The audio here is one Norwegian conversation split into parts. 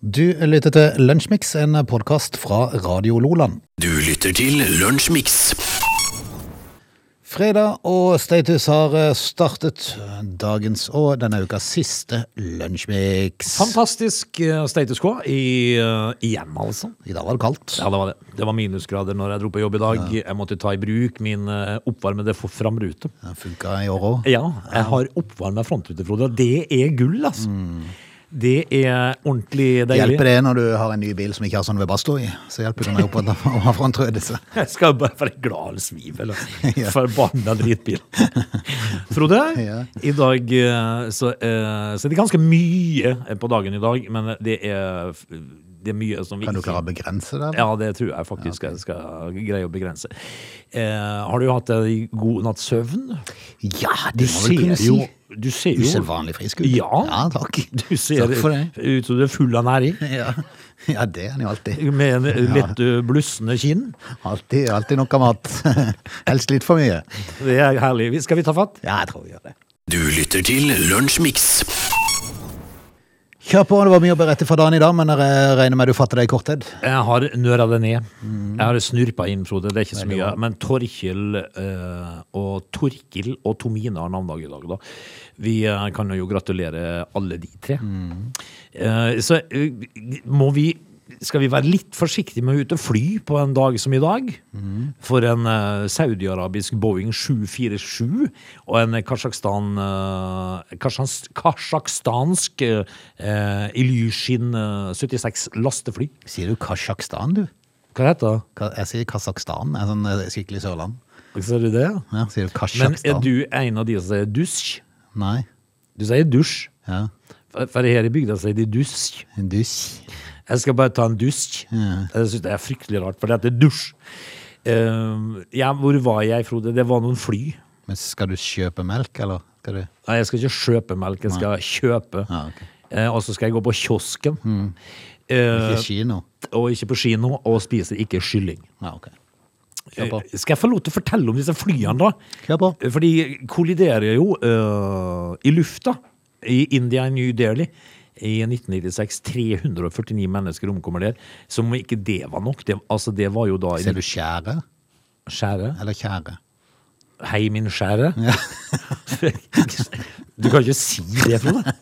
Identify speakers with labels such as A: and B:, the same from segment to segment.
A: Du lytter til Lunsjmix, en podkast fra Radio Loland.
B: Du lytter til Lunsjmix.
A: Fredag og Status har eh, startet dagens og denne ukas siste Lunsjmix.
C: Fantastisk eh, status quo i, eh, igjen, altså.
A: I dag var det kaldt.
C: Ja, det var det. Det var minusgrader når jeg dro på jobb i dag. Jeg måtte ta i bruk min eh, oppvarmede for- framrute.
A: Det funka i år òg.
C: Ja, jeg har oppvarmet frontrute, Frode. og Det er gull, altså. Det er ordentlig deilig.
A: Mm. Hjelper det når du har en ny bil som ikke har sånn ved badstue i? Så hjelper det når jeg oppholder å ha frontrødelse.
C: Jeg skal bare være glad eller altså. sviv, eller
A: Ja.
C: forbanna dritbil. Frode,
A: Ja.
C: i dag eh, så, eh, så det er ganske mye på dagen i dag, men det er, det er mye som vi
A: Kan du
C: ikke-
A: klare å begrense det? eller?
C: Ja, det tror jeg faktisk jeg skal greie å begrense. Eh, har du hatt ei god natts søvn?
A: ja det må vel kunne si.
C: Du ser jo
A: Usedvanlig frisk ut.
C: Ja.
A: ja takk.
C: Du ser
A: Takk for det.
C: ut som du er full av næring.
A: Ja. ja, det er han jo alltid.
C: Med en lett eh, blussende kinn.
A: Alltid, alltid noe mat. Helst litt for mye.
C: Det er herlig. Vi- Skal vi ta fatt?
A: Ja, jeg tror vi gjør det.
B: Du lytter til Lunsjmix.
A: Kjør på, det var mye å berette fra dagen i dag, men jeg regner med du fatter det i korthet.
C: Jeg har nøra det ned. Jeg har snurpa inn, Frode. Mm. Det er ikke så mye. Men Torkil eh, og Torkil og Tomine har navnedag i dag, da. Vi eh, kan jo gratulere alle de tre. Eh, så eh, må vi skal vi være litt forsiktige med å ut og fly på en dag som i dag? For en eh, saudi-arabisk Boeing 747 og en Kasjokstan, eh, kasjans- kasjokstansk eh, Ilyushin eh, 76 lastefly.
A: Sier du Kasjokstan, du?
C: Hva heter det?
A: Ka- Jeg sier Kasakhstan, en sånn eh, skikkelig sørland.
C: Ser du det?
A: Ja, sier du
C: Men er
A: Kasjokstan?
C: du en av de som sier dusj?
A: Nei.
C: Du sier dusj.
A: Ja.
C: For- For her i bygda sier de dusj.
A: En dusj.
C: Jeg skal bare ta en dusj. Jeg syns det er fryktelig rart, for det heter dusj. Eh, ja, hvor var jeg, Frode? Det var noen fly.
A: Men skal du kjøpe melk, eller? Skal du...
C: Nei, jeg skal ikke kjøpe melk, jeg skal kjøpe.
A: Ja, ok. Mm.
C: Eh, og så skal jeg gå på kiosken,
A: Ikke
C: eh,
A: kino?
C: og ikke på kino, og spiser ikke kylling.
A: Ja, ok.
C: Eh,
A: Kjør på.
C: skal jeg få lov til å fortelle om disse flyene, da?
A: Kjør på.
C: Eh, For de kolliderer jo eh, i lufta i India, i New Delhi. I 1996 349 mennesker omkommer der. Som om ikke det var nok. Det, altså, det var jo da i
A: Sier du skjære
C: Skjære?
A: eller kjære?
C: Hei, min skjære. du kan ikke si det, Frode.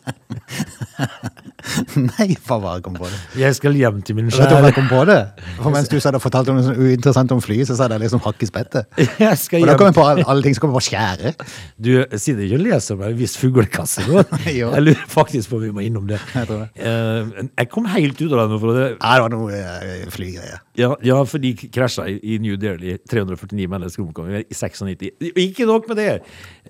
A: Nei, for bare kom på det.
C: Jeg skal hjem til min
A: Vet du hvorfor
C: skjære.
A: jeg kom på det? For mens du sa det fortalte om noe sånn uinteressant om fly, så sa jeg liksom hakk i spettet.
C: Jeg skal
A: Og da kom
C: hjem.
A: jeg på alle, alle ting som kommer på skjære.
C: Du sitter ikke og leser om en viss fuglekasse nå.
A: Jo.
C: Jeg lurer faktisk på om vi må innom det.
A: Jeg tror det.
C: Eh, jeg kom helt ut av det nå, Frode.
A: Nei, det var noe eh, flygreier.
C: Ja, ja, for de krasja i, i New Delhi. 349 mennesker omkom i 96. Ikke nok med det!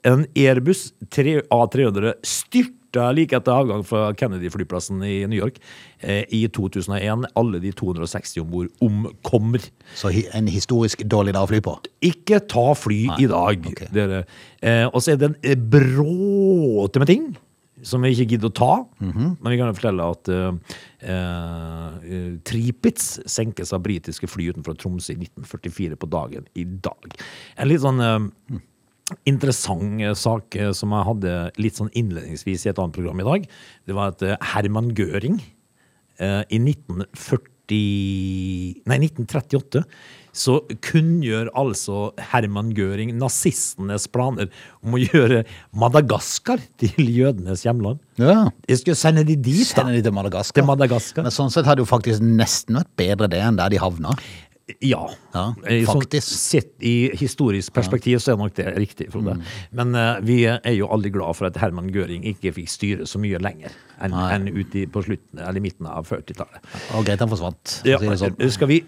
C: En Airbus 3, A300 styrta like etter avgang fra Kennedy-flyplassen i New York eh, i 2001. Alle de 260 om bord omkommer.
A: Så hi- en historisk dårlig dag å fly på.
C: Ikke ta fly i dag,
A: ok.
C: dere. Eh, og så er det en eh, bråte med ting som vi ikke gidder å ta. Men vi kan jo fortelle at eh, eh, Tripitz senkes av britiske fly utenfor Tromsø i 1944 på dagen i dag. En litt sånn eh, interessant eh, sak eh, som jeg hadde litt sånn innledningsvis i et annet program i dag. Det var at eh, Herman Göring eh, i 1940, nei, 1938 så kunngjør altså Herman Göring nazistenes planer om å gjøre Madagaskar til jødenes hjemland.
A: Ja.
C: Jeg skulle sende de dit, da.
A: Sender de til Madagaskar.
C: Til Madagaskar.
A: Men sånn sett hadde jo faktisk nesten vært bedre det enn der de havna.
C: Ja,
A: Ja,
C: Eh, sånn
A: faktisk.
C: sett i historisk perspektiv så er nok det riktig, Frode.
A: Mm.
C: Men eh, vi er jo alle glad for at Herman Göring ikke fikk styre så mye lenger enn enn ut i, på slutten, eller midten av 40-tallet.
A: Og greit han forsvant. for å
C: Ja, eh,
A: si det, sånn.
C: skal vi,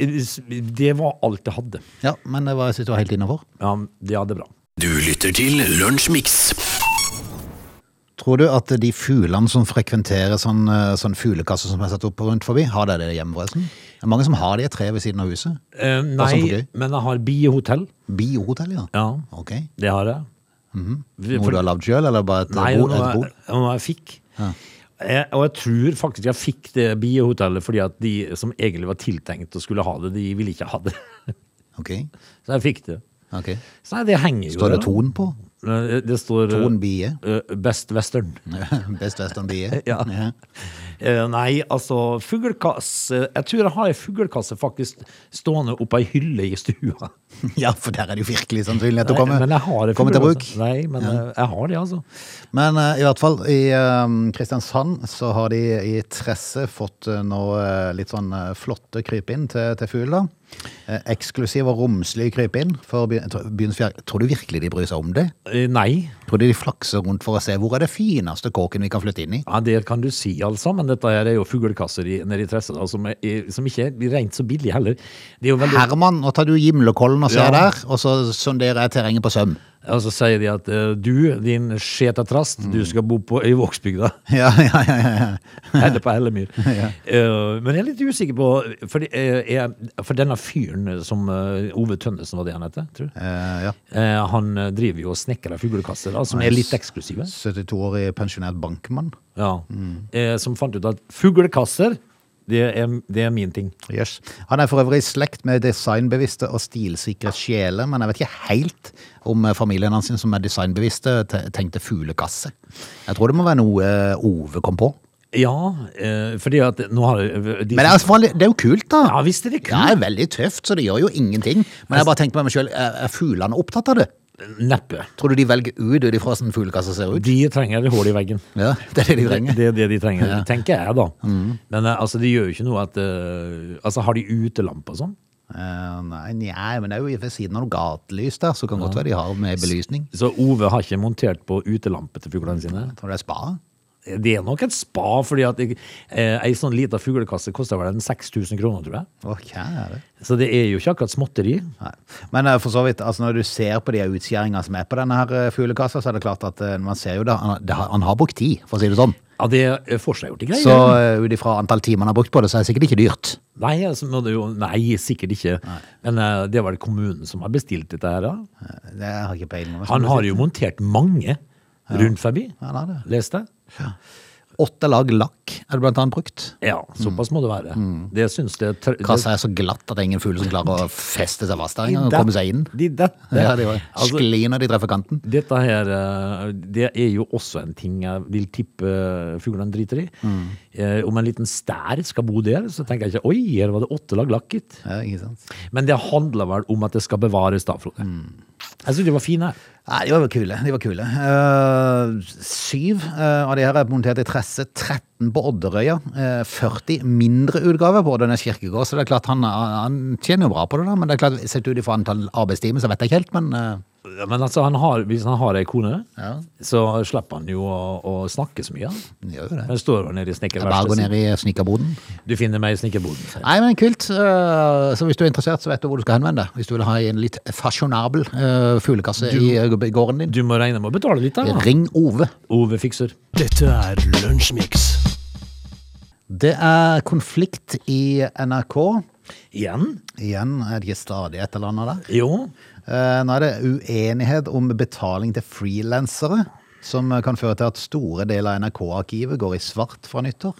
C: det var alt jeg hadde.
A: ja, men det var, jeg synes det var helt innafor.
C: Ja, det hadde bra.
B: Du lytter til Lunsjmix.
A: Tror du at de fuglene som frekventerer sånn, eh, sånn fuglekasse som er satt opp rundt forbi, har de det hjemme forresten? Det er mange som har det i et tre ved siden av huset. Bare
C: Eh,
A: sånn for
C: nei,
A: gøy.
C: men jeg har biehotell.
A: Biohotell, ja.
C: Ja,
A: Ok.
C: det har jeg. Vi-
A: Noe
C: for-
A: du har lagd sjøl, eller bare et
C: Nei,
A: bo-
C: det
A: et
C: var
A: bord?
C: det var noe jeg fikk. Jeg, og jeg tror faktisk jeg fikk det biehotellet fordi at de som egentlig var tiltenkt å skulle ha det, de ville ikke ha det.
A: Ok.
C: Så jeg fikk det.
A: ok.
C: Så nei, det henger jo
A: Står det
C: der.
A: ton på?
C: Eh, Det står eh,
A: Ton bie.
C: eh, Best Western.
A: Best western bie.
C: Ja. Eh, Nei, altså fuglekasse Jeg tror jeg har ei fuglekasse faktisk stående oppå ei hylle i stua.
A: ja, for der er det jo virkelig sannsynlighet til å
C: Nei,
A: komme,
C: men jeg har ei
A: komme til bruk.
C: fuglekasse. Nei, men eh, jeg har det, altså.
A: Men eh, i hvert fall, i eh, Kristiansand så har de i Tresse fått uh, noe eh, litt sånn eh, flotte krypinn til, til fugl. da. Eh, eksklusiv og romslig krypinn. for by- tro- byens fjær- Tror du virkelig de bryr seg om det?
C: Eh, Nei.
A: Tror du de flakser rundt for å se hvor er det fineste kåken vi kan flytte inn i?
C: Ja, Det kan du si, altså, men dette her er jo fuglekasser i, nede i Tressedal som, er- er- som ikke er rent så billig heller. Det er jo veldig,
A: Herman, nå tar du Gimlekollen og ser
C: Ja.
A: der, og så sonderer jeg terrenget på Søm.
C: Og så sier de at eh, du, din skjete trast, du skal bo på, i Vågsbygda.
A: Ja, ja, ja, ja, ja.
C: Eller på Hellemyr. Eh, men jeg er litt usikker på For, eh, jeg- for denne fyren som eh, Ove Tønnesen var det han het, tror jeg.
A: Eh, ja.
C: Eh, han eh, driver jo og snekrer fuglekasser, da, som er litt eksklusive.
A: 72-årig pensjonert bankmann.
C: Ja. Eh, som fant ut at fuglekasser, det er, det er min ting.
A: Yes. Han er for øvrig i slekt med designbevisste og stilsikre sjeler, men jeg vet ikke helt om eh, familien hans som er designbevisste te- tenkte fuglekasse. Jeg tror det må være noe eh, Ove kom på.
C: Ja, eh, fordi at nå har eh, de,
A: Men det er, i hvert fall- det er jo kult, da.
C: Ja visst er det
A: Det
C: kult.
A: er veldig tøft, så det gjør jo ingenting. Men jeg bare tenkte med meg sjøl, er er fuglene opptatt av det?
C: Neppe.
A: Tror du de velger ut ut ifra hvordan fuglekassa ser ut?
C: De trenger et hull i veggen.
A: Ja, det er det de trenger. Mm.
C: Det er det de trenger, tenker jeg da. Men eh, altså, det gjør jo ikke noe at eh, Altså, har de utelampe og sånn?
A: Eh, nei, nei, men det er jo ved siden av noe gatelys der, så kan godt være de har med belysning.
C: Så Ove har ikke montert på utelampe til fuglene sine?
A: Tror du det er spa?
C: Det er nok et spa, fordi at jeg, eh, ei sånn lita fuglekasse koster vel en 6000 kroner, tror jeg.
A: Å, kjære.
C: Så det er jo ikke akkurat småtteri.
A: Nei. Men eh, for så vidt, altså når du ser på de her utskjæringene som er på denne her eh, fuglekassa, så er det klart at eh, man ser jo det, han, det, har- han har brukt tid, for å si det sånn.
C: Ja, det er forseggjorte greier.
A: Så eh, ut ifra antall timer han har brukt på det, så er det sikkert ikke dyrt.
C: Nei, altså, må det jo, nei, sikkert ikke. Men eh, det er vel kommunen som har bestilt dette her, da?
A: Eh, Det har jeg ikke peiling på.
C: Han har jo montert mange rundt forbi.
A: Han har det.
C: Leste jeg?
A: Åtte lag lakk er det blant annet brukt.
C: Ja, såpass
A: Mm.
C: må det være. Det syns det, tr- det
A: Kassa er så glatt at det er ingen fugl som klarer å feste seg fast der engang og komme seg inn.
C: De det,
A: Ja, det var
C: Altså,
A: skli når de treffer kanten.
C: dette her eh, det er jo også en ting jeg vil tippe fuglene driter i.
A: Mm.
C: Eh, Om en liten stær skal bo der, så tenker jeg ikke oi, her var det åtte lag lakket.
A: Ja, ikke sant?
C: Men det handler vel om at det skal bevares, da, Frode.
A: Mm.
C: Jeg syns de var fine.
A: Nei, de var kule. De var kule. Eh, syv eh, av de her er montert i tresse. 13 på Odderøya. eh, 40 mindre utgaver på Oddernes kirkegård. Så det er klart han, han tjener jo bra på det, da. Men det er klart, sett ut ifra antall arbeidstimer, så vet jeg ikke helt, men eh,
C: Ja, Men altså, han har, hvis han har ei kone,
A: Ja.
C: så slipper han jo å, å snakke så mye. han.
A: han gjør jo det.
C: Han står vel nede i
A: Det er Bare å gå
C: snekkerverkstedet.
A: ned i snekkerboden.
C: Du finner meg i snekkerboden. sier han.
A: Nei, men kult. eh, Så hvis du er interessert, så vet du hvor du skal henvende deg. Hvis du vil ha en litt fasjonabel eh, fuglekasse i eh, gården din.
C: Du må regne med å betale litt, da.
A: Ring Ove.
C: Ove fikser.
B: Dette er Lunsjmix.
A: Det er konflikt i NRK.
C: Igjen?
A: Igjen er det ikke stadig et eller annet der.
C: Jo.
A: Eh, Nå er det uenighet om betaling til frilansere, som eh, kan føre til at store deler av NRK-arkivet går i svart fra nyttår.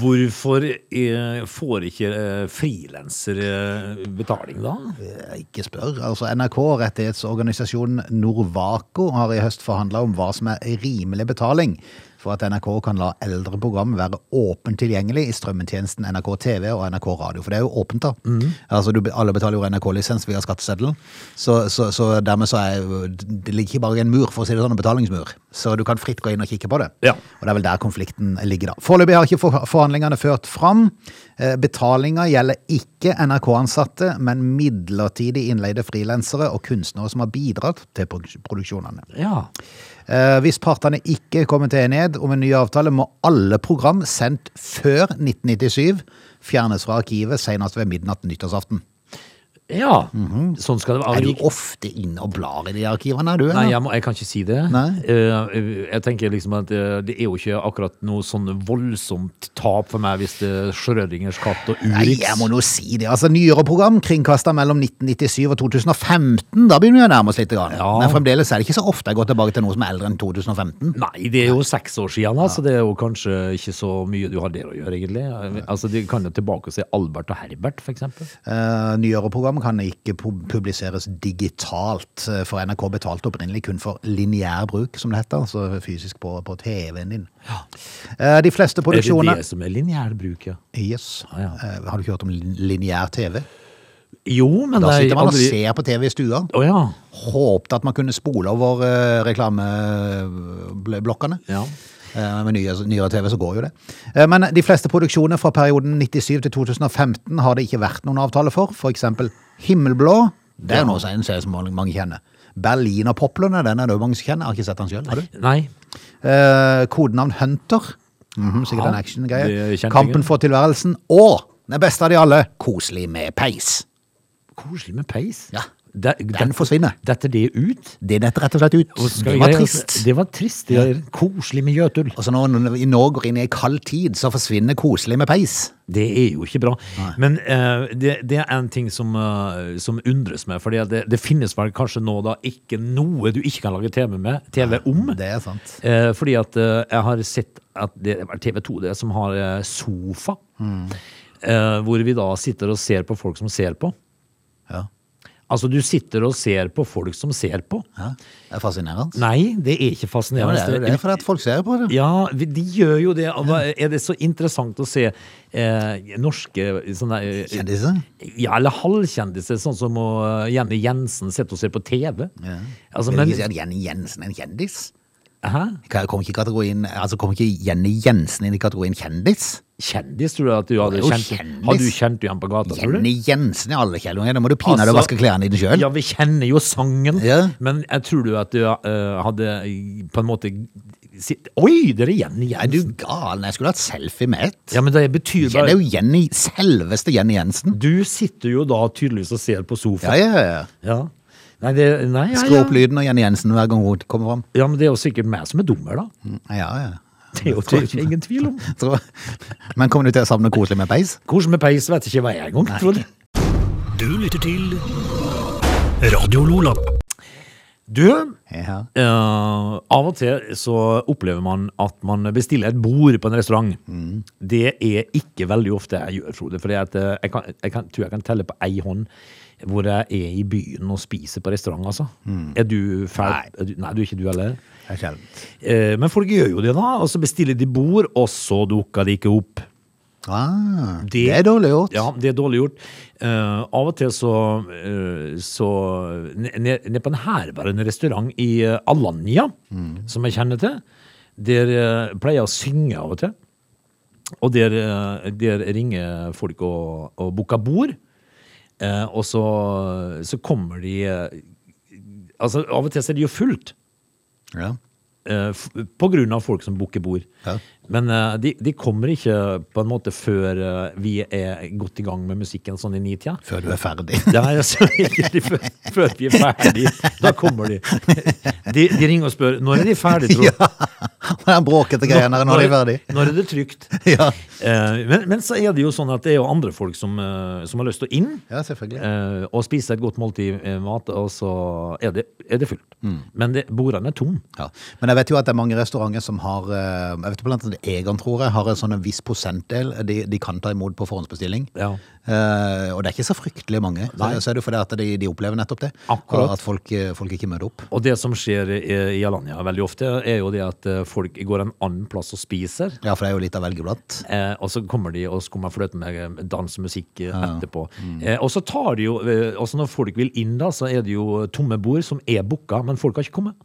C: Hvorfor eh, får ikke eh, frilansere eh, betaling, da?
A: Eh, Ikke spør. Altså, NRK, rettighetsorganisasjonen Norvaco, har i høst forhandla om hva som er rimelig betaling for at NRK kan la eldre program være åpent tilgjengelig i strømmetjenesten NRK TV og NRK Radio. For det er jo åpent, da. Altså, du, be- alle betaler jo NRK-lisens via skatteseddelen. Så, så, så dermed så er jo- det ligger ikke bare en mur, for å si det sånn, en betalingsmur. Så du kan fritt gå inn og kikke på det.
C: Ja.
A: Og det er vel der konflikten ligger da. Foreløpig har ikke for- forhandlingene ført fram. Eh, Betalinga gjelder ikke NRK-ansatte, men midlertidig innleide frilansere og kunstnere som har bidratt til produks- produksjonene.
C: Ja.
A: Eh, Hvis partene ikke kommer til enighet om en ny avtale, må alle program sendt før 1997 fjernes fra arkivet senest ved midnatt nyttårsaften.
C: Ja. Sånn skal det
A: Mhm. Er
C: være.
A: du ofte inn og blar i de arkivene, er du?
C: Nei,
A: eller?
C: jeg, må, jeg kan ikke si det.
A: Nei.
C: Eh, jeg tenker liksom at eh, det er jo ikke akkurat noe sånn voldsomt tap for meg hvis det er Schrødingers katt og
A: Nei,
C: Urix.
A: jeg må nå si det. Altså, Nyere program kringkasta mellom 1997 og 2015. Da begynner vi å nærme oss litt. Grann.
C: Ja.
A: Men fremdeles er det ikke så ofte jeg går tilbake til noe som er eldre enn 2015.
C: Nei, det er jo seks år siden, da, så det er jo kanskje ikke så mye du har der å gjøre, egentlig. Altså, De kan jo tilbake og se Albert og Herbert, for eksempel.
A: Uh, nyere program program kan ikke pu- publiseres digitalt, eh, for NRK betalte opprinnelig kun for lineær bruk, som det heter, altså fysisk på, på TV-en din. Eh, De fleste
C: Er det
A: produksjoner
C: det som er lineær bruk, ja?
A: Yes.
C: Ah, ja.
A: Eh, Har du ikke hørt om lin- lineær TV?
C: Jo, men
A: Da
C: det
A: sitter
C: er
A: man og
C: aldri
A: ser på TV i stua.
C: Å ja.
A: Håpte at man kunne spole over eh, reklameblokkene.
C: ja.
A: Eh, Med nyere, nyere TV så går jo det. Eh, Men de fleste produksjoner fra perioden 97 til 2015 har det ikke vært noen avtale for. For eksempel Himmelblå. Det er jo noe som en serie som mange mange kjenner. Berlinerpoplene, den er det jo mange som kjenner. Jeg har ikke sett den sjøl.
C: Nei.
A: Eh, kodenavn Hunter. Mhm, sikkert
C: Ja,
A: en actiongreie.
C: det kjente jeg.
A: Kampen for tilværelsen. Og den beste av de alle, Koselig med peis.
C: Koselig med peis.
A: Ja.
C: De,
A: Den forsvinner.
C: Detter det ut?
A: Det detter rett og slett ut. Det var trist.
C: Det var trist. Det er koselig med gjøtull.
A: Og så når når vi nå går inn i en kald tid, så forsvinner Koselig med peis.
C: Det er jo ikke bra. Men eh, det, det er en ting som, eh, som undres meg. For det, det finnes vel kanskje nå da ikke noe du ikke kan lage TV, med, TV om.
A: Det er sant.
C: Eh, fordi at eh, jeg har sett at det er TV 2 det som har eh, sofa. Eh, hvor vi da sitter og ser på folk som ser på.
A: Ja.
C: Altså, du sitter og ser på folk som ser på.
A: Ja, det er fascinerende.
C: Nei, det er ikke
A: Ja, men
C: fascinerende.
A: det er jo det, for at folk ser på det.
C: Ja, vi- de gjør jo det. og hva- Er det så interessant å se eh, norske sånne, eh,
A: Kjendiser.
C: Ja, eller halvkjendiser, sånn som å, eh, Jenny Jensen sitter og ser på TV.
A: Ja.
C: Altså,
A: Vil
C: men,
A: du si at Jenny Jensen er en kjendis?
C: hæ?
A: Kan- Kommer ikke, kategorien- altså kommer ikke Jenny Jensen inn i kategorien kjendis?
C: Kjendis, tror du at du hadde
A: Hun er jo
C: kjent?
A: kjendis.
C: Hadde du kjent henne igjen på gata, tror du?
A: Jenny Jensen er alle kjellinger. Da må du pinadø altså,
C: Altså-
A: vaske klærne dine sjøl.
C: Ja, vi kjenner jo sangen,
A: Ja.
C: men jeg tror du at du eh, hadde eh, på en måte sitt- Oi, det er Jenny
A: Er du
C: Jensen!
A: gal? Jeg skulle hatt selfie med ett.
C: Ja, men det betyr
A: Det er
C: bare
A: jo Jenny, selveste Jenny Jensen.
C: Du sitter jo da tydeligvis og ser på
A: Ja,
C: sofaen.
A: ja, ja.
C: Ja. Nei, det Nei, ja,
A: Skru
C: ja.
A: opp lyden av Jenny Jensen hver gang hun kommer fram.
C: Ja, men det er jo sikkert meg som er dummer, da.
A: Ja, ja.
C: Det er jo det er jo ingen tvil om.
A: Så- Men kommer du til å savne koselig med peis?
C: Hvordan med peis vet ikke hva jeg er engang, Frode.
B: Du lytter til Radio Lola.
C: Du,
A: Ja.
C: eh, av og til så opplever man at man bestiller et bord på en restaurant. Det er ikke veldig ofte jeg gjør, Frode, for jeg, kan, jeg kan, tror jeg kan telle på ei hånd hvor jeg er i byen og spiser på restaurant, altså. Er du fæl? er du- Nei, du er ikke du heller.
A: Det er sjeldent.
C: Eh, men folk gjør jo det, da. Og så bestiller de bord, og så dukker de ikke opp.
A: Ah, det er dårlig gjort.
C: Ja, det er dårlig gjort. Eh, av og til så, eh, så Nede ned på en herværende restaurant i eh, Alanya, som jeg kjenner til, der eh, pleier jeg å synge av og til. Og der, eh, der ringer folk og, og booker bord. Eh, og så, så kommer de eh, Altså, av og til så er det jo fullt.
A: Ja.
C: eh, f- På grunn av folk som booker bord.
A: Ja.
C: Men eh, de, de kommer ikke på en måte før eh, vi er godt i gang med musikken, sånn i nitida.
A: Før du er ferdig.
C: Det er altså ikke de før, før vi er ferdig. Da kommer de. de. De ringer og spør når er de ferdig, tror du?
A: Ja, den bråkete greia når de er ferdig.
C: Når er det trygt?
A: Ja,
C: Eh, men, men så er det jo sånn at det er jo andre folk som, eh, som har lyst til å inn.
A: ja selvfølgelig.
C: eh, og spise et godt måltid eh, mat, og så er det, er det fullt.
A: Mm.
C: Men det, bordene er tomme.
A: Ja. Men jeg vet jo at det er mange restauranter som har eh, Jeg vet blant annet Egon, tror jeg, har en sånn en viss prosentdel de, de kan ta imot på forhåndsbestilling.
C: Ja.
A: Eh, og det er ikke så fryktelig mange. Så,
C: Nei.
A: så er det jo fordi at de, de opplever nettopp det.
C: Akkurat.
A: At folk, eh, folk ikke møter opp.
C: Og det som skjer i, i Alanya veldig ofte, er jo det at eh, folk går en annen plass og spiser.
A: Ja, for det er jo litt av velge blant.
C: Eh, og så kommer de og skummer fløten med eh, dans og musikk eh, etterpå.
A: Mm.
C: Eh, og så tar de jo eh, Også når folk vil inn, da, så er det jo tomme bord som er booka, men folk har ikke kommet.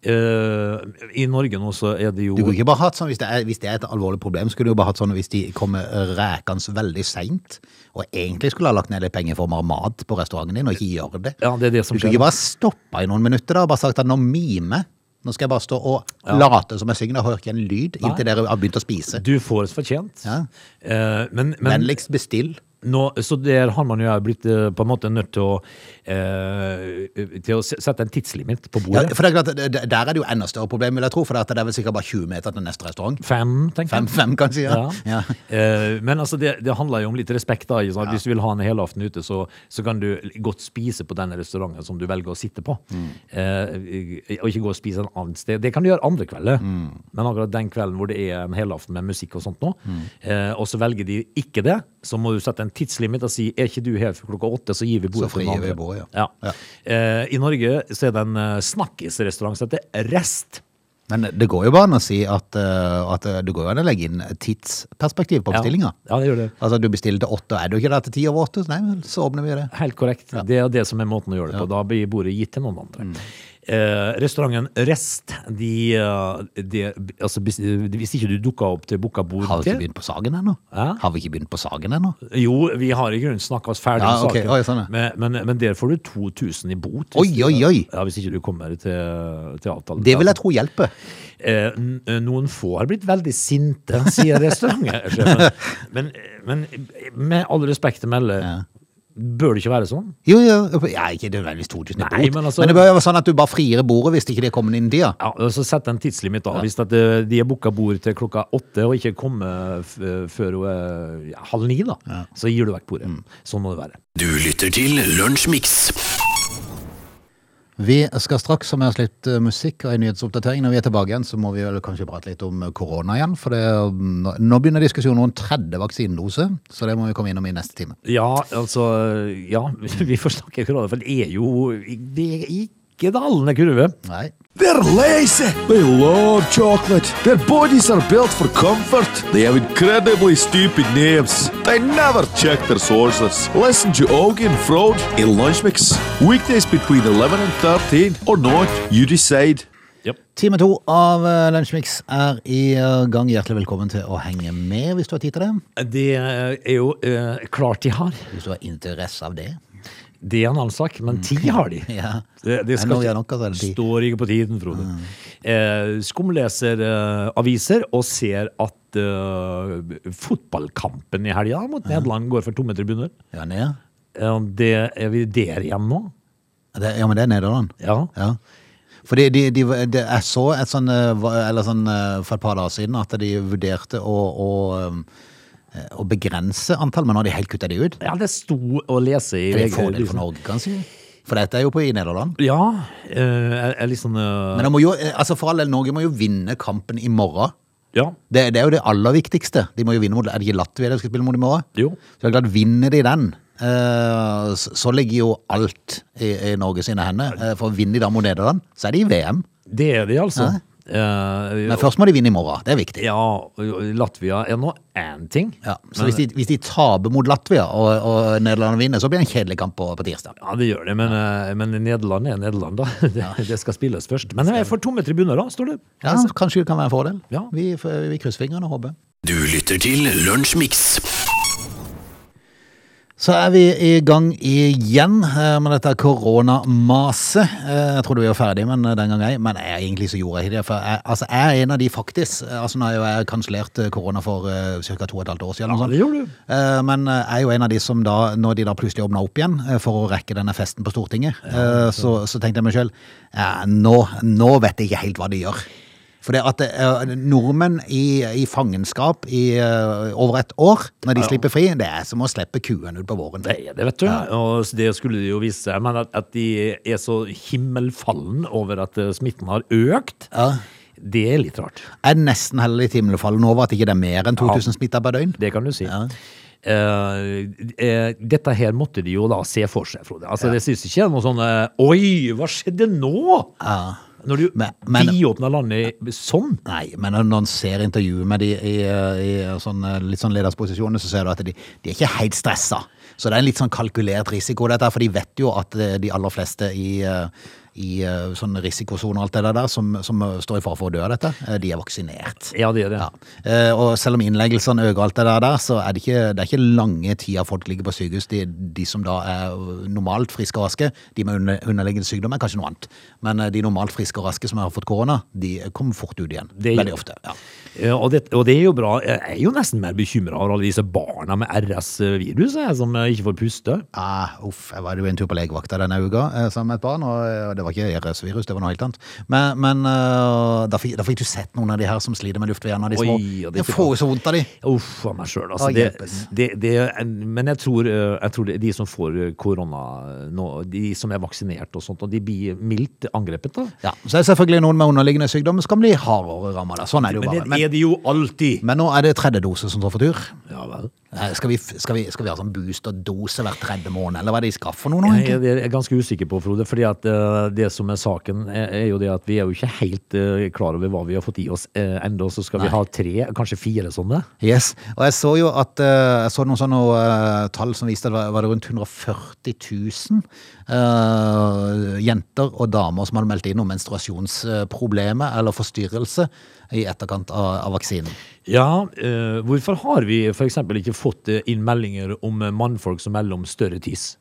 C: Eh, I Norge nå så er det jo
A: Du kunne ikke bare hatt sånn, hvis det, er, hvis det er et alvorlig problem, skulle du jo bare hatt sånn hvis de kommer rekende veldig seint, og egentlig skulle ha lagt ned litt penger for mer mat på restauranten din, og ikke gjør det.
C: Ja, det er det som
A: Du skulle
C: skjer.
A: ikke bare stoppa i noen minutter da, og bare sagt at nå mime. Nå skal jeg bare stå og late som jeg synger, og hører ikke en lyd inntil dere har begynt å spise.
C: Du får oss fortjent.
A: Ja. liksom-
C: Eh, men, men
A: Vennligst bestill.
C: nå, så der har man jo blitt eh, på en måte nødt til å eh, Til å se- sette en tidslimit på
A: Ja,
C: bordet.
A: for det er klart, at det- Der er det jo enda større problem, vil jeg tro, for det er vel sikkert bare 20 meter til neste restaurant.
C: Fem, tenker jeg.
A: Fem, fem kanskje, ja. ja.
C: Ja. Eh, men altså det, det handler jo om litt respekt. da ikke sant? Hvis du vil ha en helaften ute, så, så kan du godt spise på den restauranten som du velger å sitte på.
A: Mm.
C: Eh, og ikke gå og spise en annen sted. Det kan du gjøre andre kvelder,
A: Mm. Mm.
C: men akkurat den kvelden hvor det er en helaften med musikk og sånt nå, eh, og så velger de ikke det, så må du sette en tidslimit og si er ikke du her for klokka åtte, så gir vi bordet
A: Så
C: til den
A: frigir vi
C: andre.
A: bordet, ja.
C: Ja. Eh, I Norge så er det en eh, snakkisrestaurant som heter Rest.
A: Men det går jo bare an å si at, eh, at eh, det går jo an å legge inn et tidsperspektiv på
C: Ja.
A: bestillinga.
C: Ja, det gjør det.
A: Altså, du bestiller til åtte, og er du ikke der til ti over åtte, så nei, vel, så åpner vi det.
C: Helt korrekt. Det er det som er måten å gjøre det på. Da blir bordet gitt til noen andre.
A: Mm.
C: Eh, restauranten Rest, de, eh, de altså, hvis, hvis ikke du dukker opp til booka bord
A: Har vi ikke
C: til-
A: begynt på saken ennå?
C: Hæ?
A: Har vi ikke begynt på saken ennå?
C: Jo, vi har i grunnen snakka oss ferdig
A: Ja,
C: om
A: ok.
C: saken,
A: Oi, sånn, ja.
C: men, men, men der får du 2000 i bot. hvis
A: Oi,
C: du-
A: oi, oi.
C: Ja, Hvis ikke du kommer til, til avtale.
A: Det vil jeg tro hjelper.
C: Eh, n- noen få har blitt veldig sinte, sier restaurantsjefen. men, men med all respekt å melde, bør det ikke være sånn?
A: Jo, jo, ja, ikke nødvendigvis 2000 i bot,
C: Nei,
A: men,
C: men altså-
A: det bør jo være sånn at du bare frier bordet hvis ikke det er kommet inn i tida.
C: Ja, og så Sett en tidslimit, da. Hvis at eh, de er booka bord til klokka åtte og ikke kommer f eh, før hun er ja, halv ni, da, så gir du vekk bordet. Sånn må det være.
B: Du lytter til Lunsjmix.
A: Vi skal straks ha med oss litt eh, musikk og en nyhetsoppdatering. Når vi er tilbake igjen, så må vi vel kanskje prate litt om eh, korona igjen. For det, mm, nå- nå begynner diskusjonen om 30 vaksinedoser, så det må vi komme innom i neste time.
C: Ja, altså Ja, vi får snakke korona, for det er jo Det er ikke dalende kurve.
A: Nei.
D: They're lazy. They love chocolate. Their bodies are built for comfort. They have incredibly stupid names. They never check their sources. Listen to Augie and Frode in Lunch Mix. Weekdays between 11 and 13 or not, you decide.
A: Time to av eh, Lunsjmix er i eh, gang. Hjertelig velkommen til å henge med hvis du har tid til det.
C: Det er jo eh, klart de har.
A: Hvis du har interesse av det.
C: Det er en annen sak, men ti har de.
A: Mm. Ja.
C: Det, det
A: Men
C: skal
A: når vi har
C: ikke,
A: nok, altså, er det ti. Mm.
C: står ikke på tiden, Frode. Eh, Skumleser eh, aviser og ser at eh, fotballkampen i helga mot Nederland går for tomme tribuner.
A: Ja, ned.
C: Eh, det er vi der igjen nå.
A: Det, ja, men det er Nederland.
C: Ja.
A: Ja. Fordi de, de, de, jeg så et sånn, eh, va- eller sånn eh, for et par dager siden at de vurderte å, å, um, eh, å begrense antall, men nå har de helt kutta de ut.
C: ja, det sto å lese i
A: Er det en
C: VG,
A: fordel
C: liksom.
A: for Norge, kanskje? For dette er jo på i Nederland.
C: Ja. Eh, jeg, jeg liksom eh,
A: Men det må jo, eh, altså for all del, Norge må jo vinne kampen i morgen.
C: Ja.
A: Det, det er jo det aller viktigste. De må jo vinne mot, Er det ikke Latvia de skal spille mot i morgen?
C: Jo.
A: Så det er klart, Vinner de den, eh, så så ligger jo alt i, i Norge sine hender. Eh, For vinner de da mot Nederland, så er de i VM.
C: Det er de, altså. Eh,
A: Men først må de vinne i morgen. Det er viktig.
C: ja, Latvia er nå én ting.
A: Ja, så hvis de, hvis de taper mot Latvia og, og Nederland vinner, så blir det en kjedelig kamp på, på tirsdag.
C: Ja, det gjør det, men, eh, men Nederland er Nederland, da. Det, det skal spilles først. Men jeg får tomme tribuner, da, står det. Altså,
A: Ja, så kanskje det kan være en fordel.
C: Ja.
A: Vi, vi krysser fingrene og håper.
B: Du lytter til Lunsjmix.
A: Så er vi i gang igjen eh, med dette koronamaset. Eh, Jeg trodde vi var ferdige, men eh, den gang ei. Men jeg, egentlig så gjorde jeg ikke det. For jeg, altså, jeg er en av de faktisk. eh, Altså, nå har jo jeg kansellert eh, korona for ca. to og et halvt år siden. eller noe
C: Ja,
A: sånt.
C: det gjorde du.
A: Eh, Men eh, jeg er jo en av de som da, når de da plutselig åpna opp igjen eh, for å rekke denne festen på Stortinget, eh, så, så tenkte jeg meg sjøl nå, nå vet jeg ikke helt hva de gjør. For det at eh, nordmenn i, i fangenskap i eh, over et år, når de slipper fri, det er som å slippe kuen ut på våren.
C: Det er det, vet du. Og det skulle det jo vise seg. Men at, at de er så himmelfallen over at eh, smitten har økt, det er litt rart.
A: Jeg er nesten heller litt himmelfallen over at ikke det er mer enn 2000 smitta per døgn.
C: Det kan du si. Eh, eh, dette her måtte de jo da se for seg, Frode. Altså, Det synes ikke er noe sånn eh, Oi, hva skjedde nå? Når du
A: Men- men-
C: biåpna landet i- sånn.
A: Nei, men når man ser intervjuet med de i, eh, i sånn, eh, litt sånn ledersposisjoner, så ser du at de, de er ikke helt stressa. Så det er en litt sånn kalkulert risiko, dette, her, for de vet jo at eh, de aller fleste i, eh, i eh, sånn risikosoner og alt det der, som, som eh, står i fare for å dø av dette, eh, de er vaksinert.
C: Ja, det er det.
A: Ja. Eh, Og selv om innleggelsene øker alt det der, der, så er det ikke, det er ikke lange tida folk ligger på sykehus. De, de som da er normalt friske og raske, de med under, underliggende sykdom er kanskje noe annet. Men eh, de normalt friske og raske som har fått korona, de kommer fort ut igjen.
C: Det gjør-
A: Veldig ofte. Ja.
C: Ja, og, det, og det er jo bra. Jeg er jo nesten mer bekymra over alle disse barna med RS-virus, jeg, som eh, ikke får puste.
A: Ah, uff, jeg var jo en tur på legevakta denne uka eh, sammen med et barn, og eh, det var ikke RS-virus, det var noe helt annet. Men, men eh, da, fikk, da fikk du sett noen av de her som sliter med luftveiene, de små.
C: Oi, og det er
A: jeg får jo så vondt av de.
C: Uff a meg sjøl, altså.
A: Å,
C: Det,
A: hjelpes.
C: det, det, er- men jeg tror, eh, jeg tror det, de som får eh, korona nå, de som er vaksinert og sånt, og de blir mildt angrepet, da.
A: Ja, så er det selvfølgelig noen med underliggende sykdommer som kan bli hardere rammet. da. Sånn er det jo
C: Men
A: bare.
C: det er de jo alltid.
A: Men nå er det tredje dose som står for tur.
C: Ja vel.
A: Eh, Skal vi, f- skal vi, skal vi ha sånn boosterdose hver tredje måned, eller hva er det de skal for noe nå?
C: Jeg,
A: egentlig?
C: jeg er ganske usikker på, Frode, fordi at eh, det som er saken, er, er jo det at vi er jo ikke helt eh, klar over hva vi har fått i oss uh, ennå, så skal vi ha tre, kanskje fire sånne.
A: Yes, og jeg så jo at eh, jeg så noen sånne eh, tall som viste at det var- var det rundt 140 000 eh, jenter og damer som hadde meldt inn om menstruasjonsproblemet eller forstyrrelse i etterkant av, av vaksinen.
C: Ja, eh, hvorfor har vi f.eks. ikke fått eh, inn meldinger om eh, mannfolk som melder om større tiss?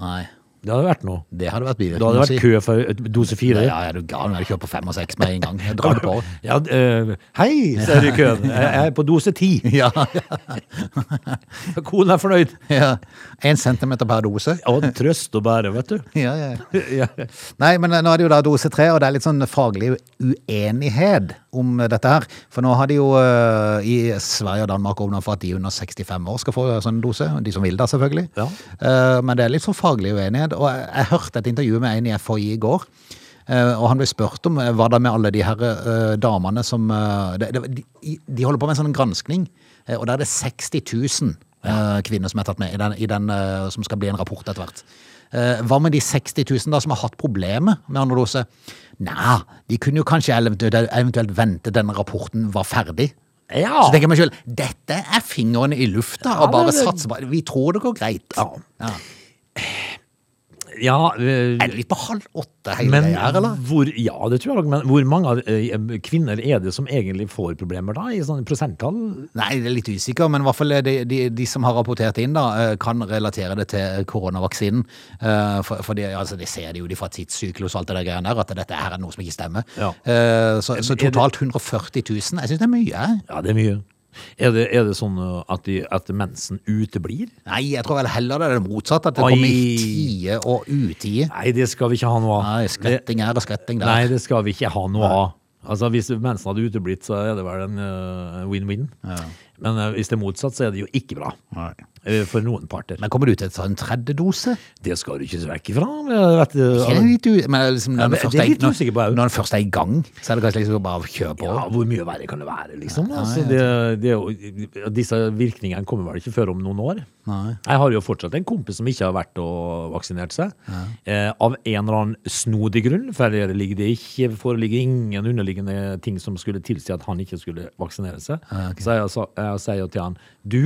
A: Nei,
C: Det hadde vært noe.
A: det hadde vært
C: Da hadde det vært
A: bivirkninger.
C: kø for eh, dose fire.
A: Ja, ja, du gal, men jeg kjører på fem og seks med en gang. Jeg drar det på.
C: Ja, d- eh, hei, ser du i køen. Jeg er på dose ti.
A: Ja,
C: Konen er fornøyd.
A: ja. En centimeter per dose.
C: Og trøst og bære, vet du.
A: Ja, ja.
C: Ja.
A: Nei, men eh, nå er det jo da dose tre, og det er litt sånn faglig uenighet om eh, dette her. For nå har de jo eh, i Sverige og Danmark åpna for at de under 65 år skal få sånn dose. De som vil da, selvfølgelig.
C: Ja.
A: Eh, men det er litt sånn faglig uenighet. Og jeg, jeg hørte et intervju med en i FHI i går. eh, og han ble spurt om eh, hva da med alle de her eh, damene som eh, det, det, de, de holder på med en sånn granskning, eh, og der er det 60 000 eh, kvinner som er tatt med i den, i den eh, som skal bli en rapport etter hvert. Eh, hva med de 60 000 da, som har hatt problemer med anodose? Nei, de kunne jo kanskje eventuelt, eventuelt vente denne rapporten var ferdig.
C: Ja.
A: Så tenker jeg meg selv, dette er fingeren i lufta, og
C: Ja,
A: bare
C: det- det-
A: satser på Vi tror det går greit.
C: Ja. ja eh,
A: Er det litt på halv åtte hele
C: men
A: greia her, eller?
C: hvor, ja, det tror jeg nok, men hvor mange av, eh, kvinner er det som egentlig får problemer da, i sånn sånne prosenttall?
A: Nei, det er litt usikker, men i hvert fall eh, de, de, de som har rapportert inn da, eh, kan relatere det til koronavaksinen. Eh, For, for de, altså, de ser det jo de fra tidssyklus og alt det der greiene der, at dette her er noe som ikke stemmer.
C: Ja.
A: Eh, Så, så
C: Er det-
A: totalt 140 000, jeg synes det er mye. jeg.
C: Ja, det er mye. Er det, er det sånn eh, at, de, at mensen uteblir?
A: Nei, jeg tror vel heller det er det motsatte, at det
C: Oi.
A: kommer i tide og utide.
C: Nei, det skal vi ikke ha noe av.
A: Nei, skvetting her og skvetting
C: Det,
A: der.
C: nei, det skal vi ikke ha noe av. Altså, Hvis mensen hadde uteblitt, så er det vel en eh, win-win. Men eh, hvis det er motsatt, så er det jo ikke bra.
A: Nei.
C: eh, For noen parter.
A: Men kommer du til å ta en sånn tredje dose?
C: det skal du ikke se vekk ifra. eh, Vet, du.
A: Er det litt u- men liksom, når,
C: Ja,
A: den
C: men det er
A: først er,
C: litt usikker på, jeg
A: når,
C: jo.
A: når den først er i gang, så er det kanskje liksom bare å kjøre på.
C: ja, hvor mye verre kan det være, liksom? altså, det, det, er jo- disse virkningene kommer vel ikke før om noen år.
A: Nei.
C: Jeg har jo fortsatt en kompis som ikke har vært og vaksinert seg. Eh, av en eller annen snodig grunn, for det ligger det ikke foreligger ingen underliggende ting som skulle tilsi at han ikke skulle vaksinere seg. Så jeg, sa- jeg sier jo til han Du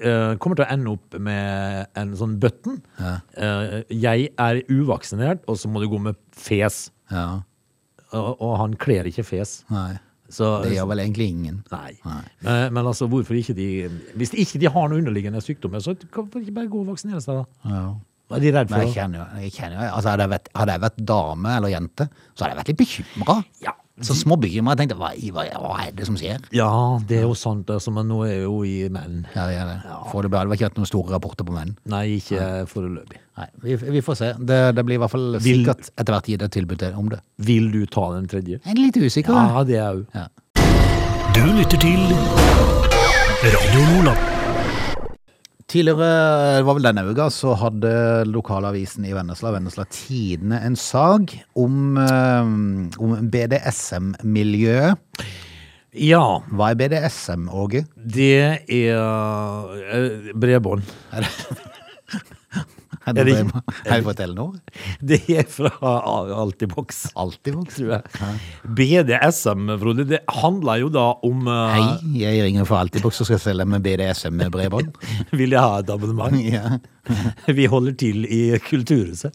C: eh, kommer til å ende opp med en sånn button. Eh, jeg er uvaksinert, og så må du gå med fes.
A: Ja,
C: Og, og han kler ikke fes.
A: nei.
C: Så,
A: Det gjør vel egentlig ingen.
C: Nei.
A: Nei.
C: Men, men altså, hvorfor ikke de Hvis ikke de har noen underliggende sykdommer, så hvorfor ikke bare gå og vaksinere seg, da?
A: Ja.
C: Hva er de redd
A: Men
C: for?
A: jeg
C: da?
A: kjenner jo, jeg kjenner jo altså hadde, jeg vært, hadde jeg vært dame eller jente, så hadde jeg vært litt bekymra.
C: Ja.
A: Så små bekymra. Jeg tenkte hva, i- hva, hva er det som skjer?
C: Ja, det er jo sant, altså, men nå er jeg jo i menn.
A: Ja, det er det. Foreløpig har det ikke vært noen store rapporter på menn.
C: Nei, ikke foreløpig.
A: Nei, vi, vi får se. Det, det blir i hvert fall
C: Vil-
A: sikkert etter hvert gitt et tilbud til om det.
C: Vil du ta den tredje?
A: Jeg er litt usikker. jeg.
C: Ja, det er jeg jo.
A: Ja.
B: Du lytter til Radio Nordland.
A: Tidligere, det var vel denne uka, så hadde lokalavisen i Vennesla, Vennesla Tidene, en sag om, eh, om BDSM-miljøet.
C: Ja,
A: Hva er BDSM, Åge?
C: det er eh, bredbånd.
A: Er
C: Er
A: det,
C: det-
A: er det på Telenor?
C: Det er fra Altibox.
A: Alltid vokst.
C: Tror jeg. BDSM, Frode, det handler jo da om eh,
A: Hei, jeg ringer fra Altibox og skal selge med BDSM-bredbånd.
C: Vil jeg ha et abonnement?
A: Ja.
C: Vi holder til i Kulturhuset.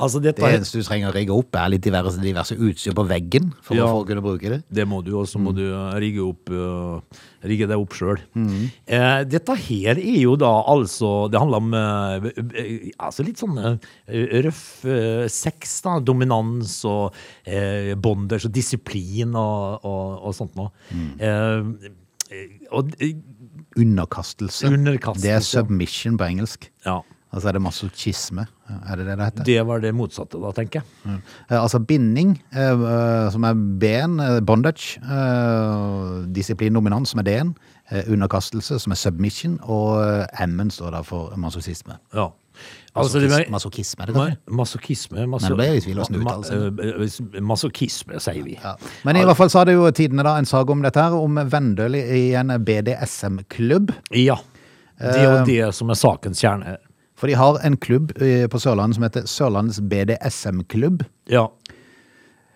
C: Altså, dette
A: Det
C: er,
A: eneste du trenger å rigge opp, er litt diverse, diverse utstyr på veggen for
C: Ja.
A: å få kunne bruke det.
C: det må du, og så
A: Mm.
C: må du uh, rigge, opp, øh, rigge deg opp sjøl.
A: Mm.
C: Eh, dette her er jo da altså Det handler om eh, eh, altså litt sånn eh, røff eh, sex, da. Dominans og eh, bonders og disiplin og, og, og sånt noe.
A: Mm.
C: Eh, eh, og eh,
A: Underkastelse.
C: Underkastelse.
A: Det er submission på engelsk.
C: ja.
A: Altså er det masochisme. Er det det det heter?
C: Det var det motsatte, da, tenker jeg.
A: Eh, Altså binding, eh, eh, som er B-en, eh, bondage, eh, disiplin dominans, som er D-en, eh, underkastelse, som er submission, og eh, M-en står da for masochisme.
C: Ja. Altså, det var-
A: Masochisme, er det det?
C: Ma- Masochisme maso
A: Nei, nå ble jeg i tvil hvordan det
C: ma-
A: uttales.
C: eh, eh, Masochisme, sier vi.
A: Ja. Men i hvert fall så hadde jo tidene da en sag om dette her, om Vendøl i en BDSM-klubb.
C: Ja.
A: Eh,
C: Det er jo det som er sakens kjerne. her.
A: For de har en klubb eh, på Sørlandet som heter Sørlandets BDSM-klubb.
C: Ja.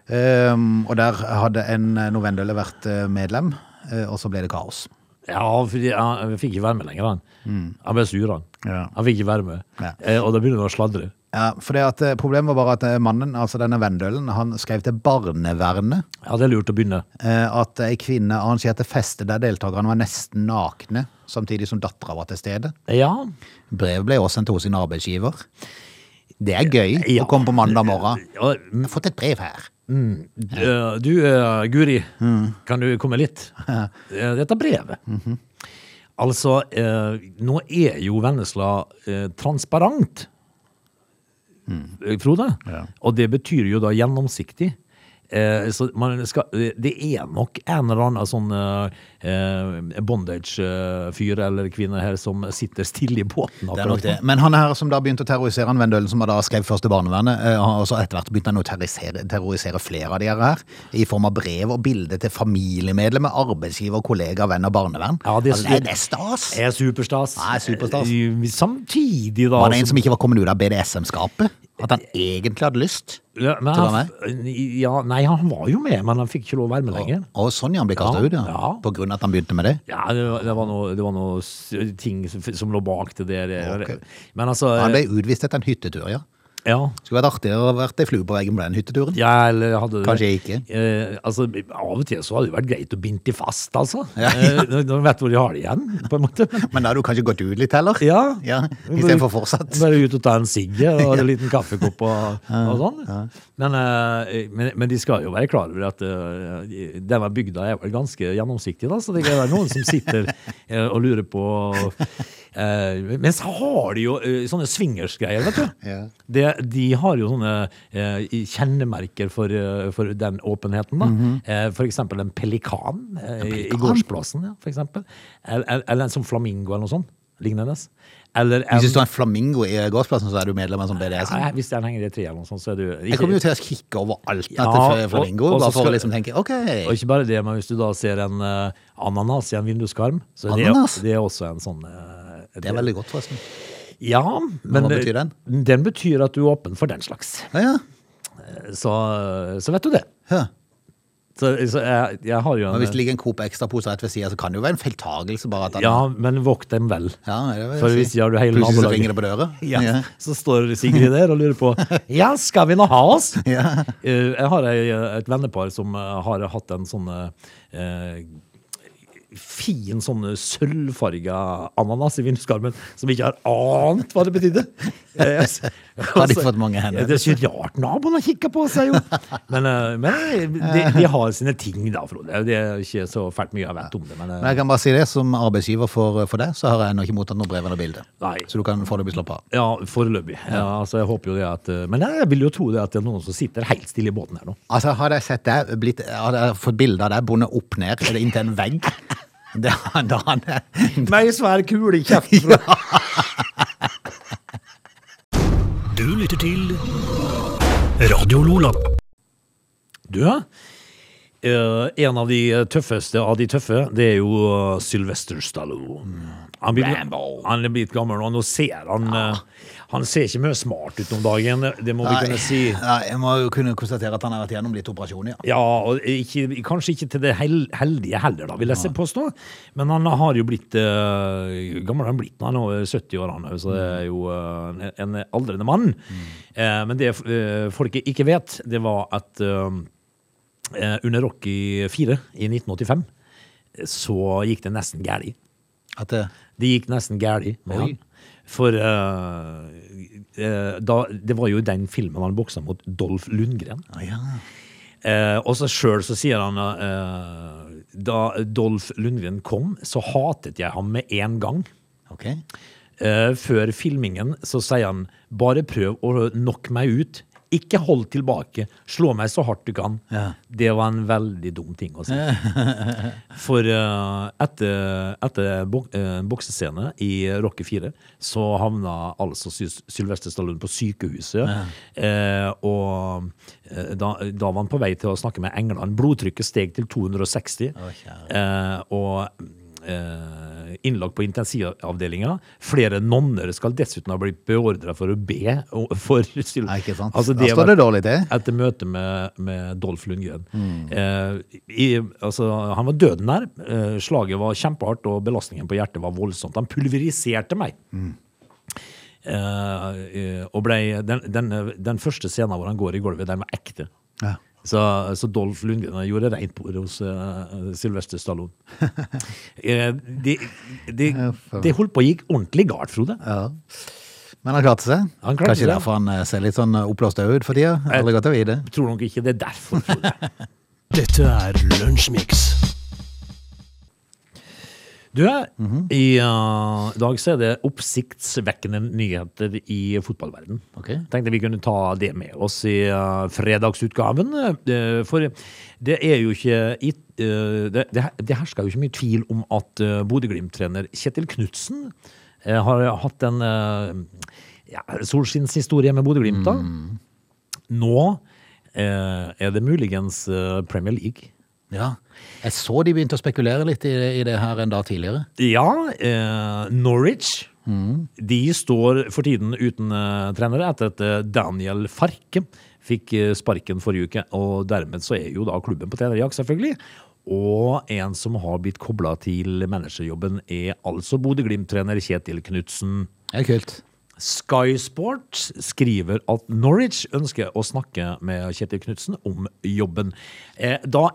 A: Ehm, og der hadde en eh, novendølle vært eh, medlem, eh, og så ble det kaos.
C: Ja, fordi jeg, jeg fikk ikke være med lenger. Han. Jeg ble sur, han.
A: Mm. Ja.
C: Jeg fikk ikke være med.
A: Ja.
C: Eh, og da begynner han å sladre.
A: Ja, for det at, eh, Problemet var bare at eh, mannen, altså denne vendølen, han skrev til barnevernet
C: Ja, det er lurt å begynne.
A: eh, at ei kvinne arrangerte fester der deltakerne var nesten nakne, samtidig som dattera var til stede.
C: Ja.
A: Brevet ble også sendt til hos sin arbeidsgiver. Det er gøy
C: Ja.
A: å komme på mandag morgen.
C: ja
A: Jeg har fått et brev her.
C: Eh, Du, eh, Guri,
A: Mm.
C: kan du komme litt? Eh, Dette brevet.
A: Mhm.
C: Altså, eh, nå er jo Vennesla eh, transparent, eh, Frode.
A: Mm. Ja.
C: Og det betyr jo da gjennomsiktig. Eh, så man skal, det er nok en eller annen sånn eh, bondage-fyr eller -kvinne her som sitter stille i båten.
A: Det er nok det. Men han her som da begynte å terrorisere han Vendølen, som da skrev først til barnevernet, eh, har også etter hvert begynt han å terrorisere, terrorisere flere av de her, her, i form av brev og bilder til familiemedlemmer, arbeidsgiver, kollegaer, venn av barnevern.
C: Ja, det-
A: altså, det, det er stas!
C: Er superstas.
A: Nei, superstas.
C: Eh, Samtidig, da
A: Var det en
C: så-
A: som ikke var kommet ut av BDSM-skapet? At han
C: Eh,
A: egentlig hadde lyst?
C: Ja, men
A: til å være
C: han, ja, nei, han var jo med, men han fikk ikke lov å være med lenger.
A: Og sånn ja, han ble
C: Ja,
A: kastet ut, ja.
C: ja.
A: På grunn av at han begynte med det.
C: Ja, det var, det var noe- det var noe s- ting som, som lå bak det der.
A: Ok.
C: Men altså
A: Han ble utvist etter en hyttetur, ja.
C: ja,
A: Skulle vært artigere å vært ei flue på veggen på den hytteturen.
C: ja, eller jeg hadde det.
A: Kanskje ikke.
C: Eh, altså, av og til så hadde det vært greit å binde de fast, altså. Eh, Når når man vet hvor de har det igjen, på en måte.
A: Men da hadde du kanskje gått ut litt heller?
C: Ja.
A: ja Istedenfor fortsatt.
C: Bare ut og ta en sigg og en liten kaffekopp og, og sånn. Men, eh, men, men de skal jo være klar over at eh, denne bygda er vel ganske gjennomsiktig, da, så det kan være noen som sitter eh, og lurer på eh, Men så har de jo eh, sånne swingersgreier, vet du.
A: Ja.
C: Det, de har jo sånne eh, kjennemerker for, eh, for den åpenheten. da.
A: Mhm.
C: eh, for eksempel en pelikan, eh, i- i gårdsplassen. Ja, for eksempel. Eller, eller en som flamingo eller noe sånt lignende. Eller en,
A: Hvis du står en flamingo i gårdsplassen, så er du medlem av en sånn BDSM.
C: Nei, hvis den henger i et tre eller noe sånt, sånn, så er du
A: Jeg kommer jo til å kikke over alt
C: Ja,
A: etter
C: og-
A: flamingo,
C: og så
A: bare for
C: skal-
A: å liksom tenke OK.
C: Og ikke bare det, men hvis du da ser en eh, ananas i en vinduskarm, så er
A: Ananas?
C: det, det er også en sånn eh,
A: Det er veldig godt, forresten.
C: Ja, men
A: Hva betyr den?
C: Den betyr at du er åpen for den slags.
A: Ja, ja.
C: Så, så vet du det.
A: Hæ.
C: Så, så jeg, jeg har jo en
A: Men hvis det ligger en Coop Extra-pose rett ved sida, så kan det jo være en feiltagelse. bare at han...
C: Ja, men vokt dem vel.
A: Ja, det vil jeg
C: For
A: si.
C: hvis de har du hele
A: Plutselig så
C: nabolaget-
A: ringer det på døra.
C: Ja, Så står Sigrid der og lurer på Ja, skal vi nå ha oss?
A: Ja.
C: Eh, Jeg har ei, et vennepar som eh, har hatt en sånn eh, fin sånn sølvfarga ananas i vinduskarmen som ikke har ant hva det betydde. Eh, altså,
A: Har de fått mange hender?
C: Ja, Det er så rart naboen har kikka på seg, jo. Men, eh, men de, de har sine ting, da, Frode. Det er ikke så fælt mye jeg vet om det. Men, eh,
A: Men jeg kan bare si det, som arbeidsgiver for, for deg, så har jeg ennå ikke mottatt noe brev eller bilde.
C: Nei.
A: Så du kan foreløpig slappe av.
C: ja, foreløpig. Ja, altså, jeg håper jo det at eh, Men jeg vil jo tro det at det er noen som sitter helt stille i båten her nå.
A: Altså, hadde jeg sett deg, blitt, hadde jeg fått bilde av deg bundet opp ned eller inntil en vegg det, da hadde jeg
C: Med ei svær kule i kjeften. Frode.
B: Du lytter til Radio Lola.
C: Du, eh, en av de tøffeste av de tøffe, det er jo eh, Sylvester Stallone. Han, blir, han er blitt gammel, og nå ser han eh, Han ser ikke mye smart ut om dagen, det må vi kunne si.
A: Nei, jeg må jo kunne konstatere at han har vært gjennom litt operasjon, ja.
C: Ja, og ikke, kanskje ikke til det hel, heldige heller, da, vil jeg se påstå. Men han har jo blitt eh, gammel, han er blitt han er over 70 år, han, så det er jo eh, en, en aldrende mann. Eh, men det eh, folket ikke vet, det var at eh, eh, under Rocky 4 i 1985 så gikk det nesten gærlig.
A: At eh, det,
C: Det gikk nesten gærlig med
A: Oi.
C: han. For eh, eh, da, det var jo i den filmen han boksa mot Dolf Lundgren.
A: Å ja.
C: Eh, og så sjøl så sier han eh, Da Dolf Lundgren kom, så hatet jeg ham med en gang.
A: Ok.
C: Eh, før filmingen så sier han bare prøv å knock meg ut. Ikke hold tilbake. Slå meg så hardt du kan.
A: Ja.
C: Det var en veldig dum ting å si. For eh, etter, etter bok, eh, boksescene i Rocky 4 så havna altså Sy- Sylvester Stallone på sykehuset. Eh, og eh, da, da var han på vei til å snakke med englene. Blodtrykket steg til 260.
A: Å, kjære.
C: eh, og eh, innlagt på intensivavdelinga. Flere nonner skal dessuten ha blitt beordra for å be og- for syl-
A: Nei, ikke sant?
C: Altså,
A: da
C: det
A: står
C: var-
A: det dårlig til.
C: etter møtet med, med Dolf Lundgren. Eh, i, altså, han var døden nær. Eh, slaget var kjempehardt, og belastningen på hjertet var voldsomt. Han pulveriserte meg. Eh, eh, og ble, den, den, den første scenen hvor han går i gulvet, den var ekte.
A: Ja.
C: Så, så Dolf Lundgren gjorde rent bord hos eh, Sylvester Stallone. eh, det de,
A: faen.
C: de holdt på å gikk ordentlig galt, Frode.
A: Men han klarte seg.
C: Han klarte
A: Kanskje
C: seg.
A: derfor han eh, ser litt sånn eh, oppblåst ut for tida. Aldri godt å vite.
C: Jeg tror nok ikke det er derfor. Frode.
B: Dette er Lunsjmix.
C: Du, i uh, dag så er det oppsiktsvekkende nyheter i fotballverden.
A: Ok.
C: Tenkte vi kunne ta det med oss i uh, fredagsutgaven. eh, for det er jo ikke i, eh, det, det her- det hersker jo ikke mye tvil om at uh, Bodø-Glimt-trener Kjetil Knutsen eh, har hatt en uh, ja, solskinnshistorie med Bodø-Glimt. da. Nå eh, er det muligens eh, Premier League.
A: Ja. Jeg så de begynte å spekulere litt i, i det her en dag tidligere.
C: Ja, eh, Norwich. De står for tiden uten eh, trenere etter at eh, Daniel Farke fikk eh, sparken forrige uke. Og dermed så er jo da klubben på trenerjakt, selvfølgelig. Og en som har blitt kobla til managerjobben, er altså Bodø-Glimt-trener Kjetil Knutsen.
A: Det er kult.
C: Sky Sport skriver at Norwich ønsker å snakke med Kjetil Knutsen om jobben. Eh, da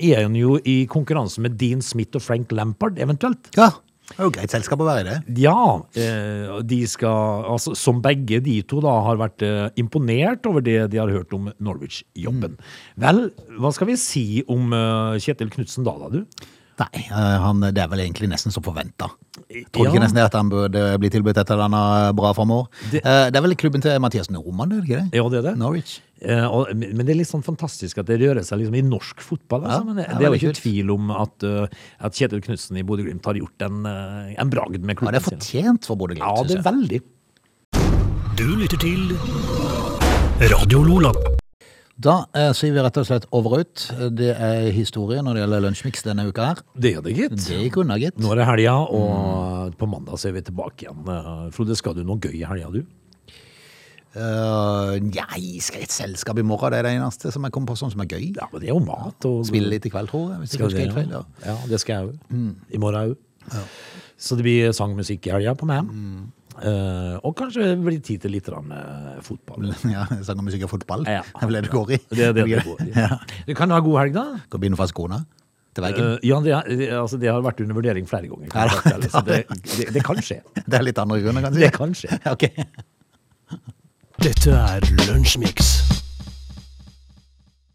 C: er han jo i konkurranse med Dean Smith og Frank Lampard, eventuelt.
A: Ja. Det er jo greit selskap å være i det.
C: Ja, eh, og de skal, altså, som begge de to da har vært eh, imponert over det de har hørt om Norwich-jobben.
A: Mm.
C: Vel, hva skal vi si om eh, Kjetil Knutsen da, da, du?
A: Nei, eh, han, det er vel egentlig nesten som forventa. Tror du
C: Ja.
A: ikke nesten det at han burde bli tilbudt et eller annet eh, bra framover? Det,
C: Det-
A: det er vel klubben til Mathias Normann, er det ikke det?
C: Ja, det er det.
A: Norwich.
C: Eh, og, men men det er litt sånn fantastisk at det rører seg liksom i norsk fotball.
A: Ja,
C: Altså. Men det,
A: det er
C: det er jo
A: veldig
C: ikke tvil om at, eh, at Kjetil Knutsen i Bodø-Glimt har gjort en, eh, en bragd med
A: Ja, det
C: klubben
A: er
C: sin.
A: fortjent for Bodø
C: Ja,
A: Glimt,
C: det
A: syns
C: er
A: jeg.
C: veldig.
B: Du lytter til Radio Lola.
A: Da eh, sier vi rett og slett over og ut. Det er historie når det gjelder Lunsjmix denne uka her.
C: Det er det, gitt.
A: Det gikk unna, gitt. Mm.
C: Nå er det helga, og på mandag så er vi tilbake igjen. Eh, Frode, skal du noe gøy i helga, du?
A: Eh, nei, skal jeg i et selskap i morgen? Det er det eneste som jeg kommer på sånn som er gøy.
C: Ja, men det er jo mat. Og,
A: Spille litt i kveld, tror jeg. Hvis jeg
C: Skal
A: ikke husker
C: det,
A: helt feil.
C: ja.
A: Ja. Mm.
C: ja, det skal jeg òg. I morgen òg. Så det blir sangmusikk i helga på meg.
A: Mm.
C: Eh, og kanskje det blir tid til litt grann, eh, fotball.
A: Ja, sang og musikk og fotball.
C: Ja.
A: Det er vel det det går i.
C: Det er det det går i.
A: Ja.
C: Du kan ha god helg, da.
A: Kan begynne fra skoene til veggen.
C: Eh, ja, det, er- det- altså, det har vært under vurdering flere ganger. kan jeg fortelle, så det, det, det kan skje.
A: Det er litt andre grunner, kanskje.
C: Det kan skje.
A: Ok.
B: Dette er Lunsjmix.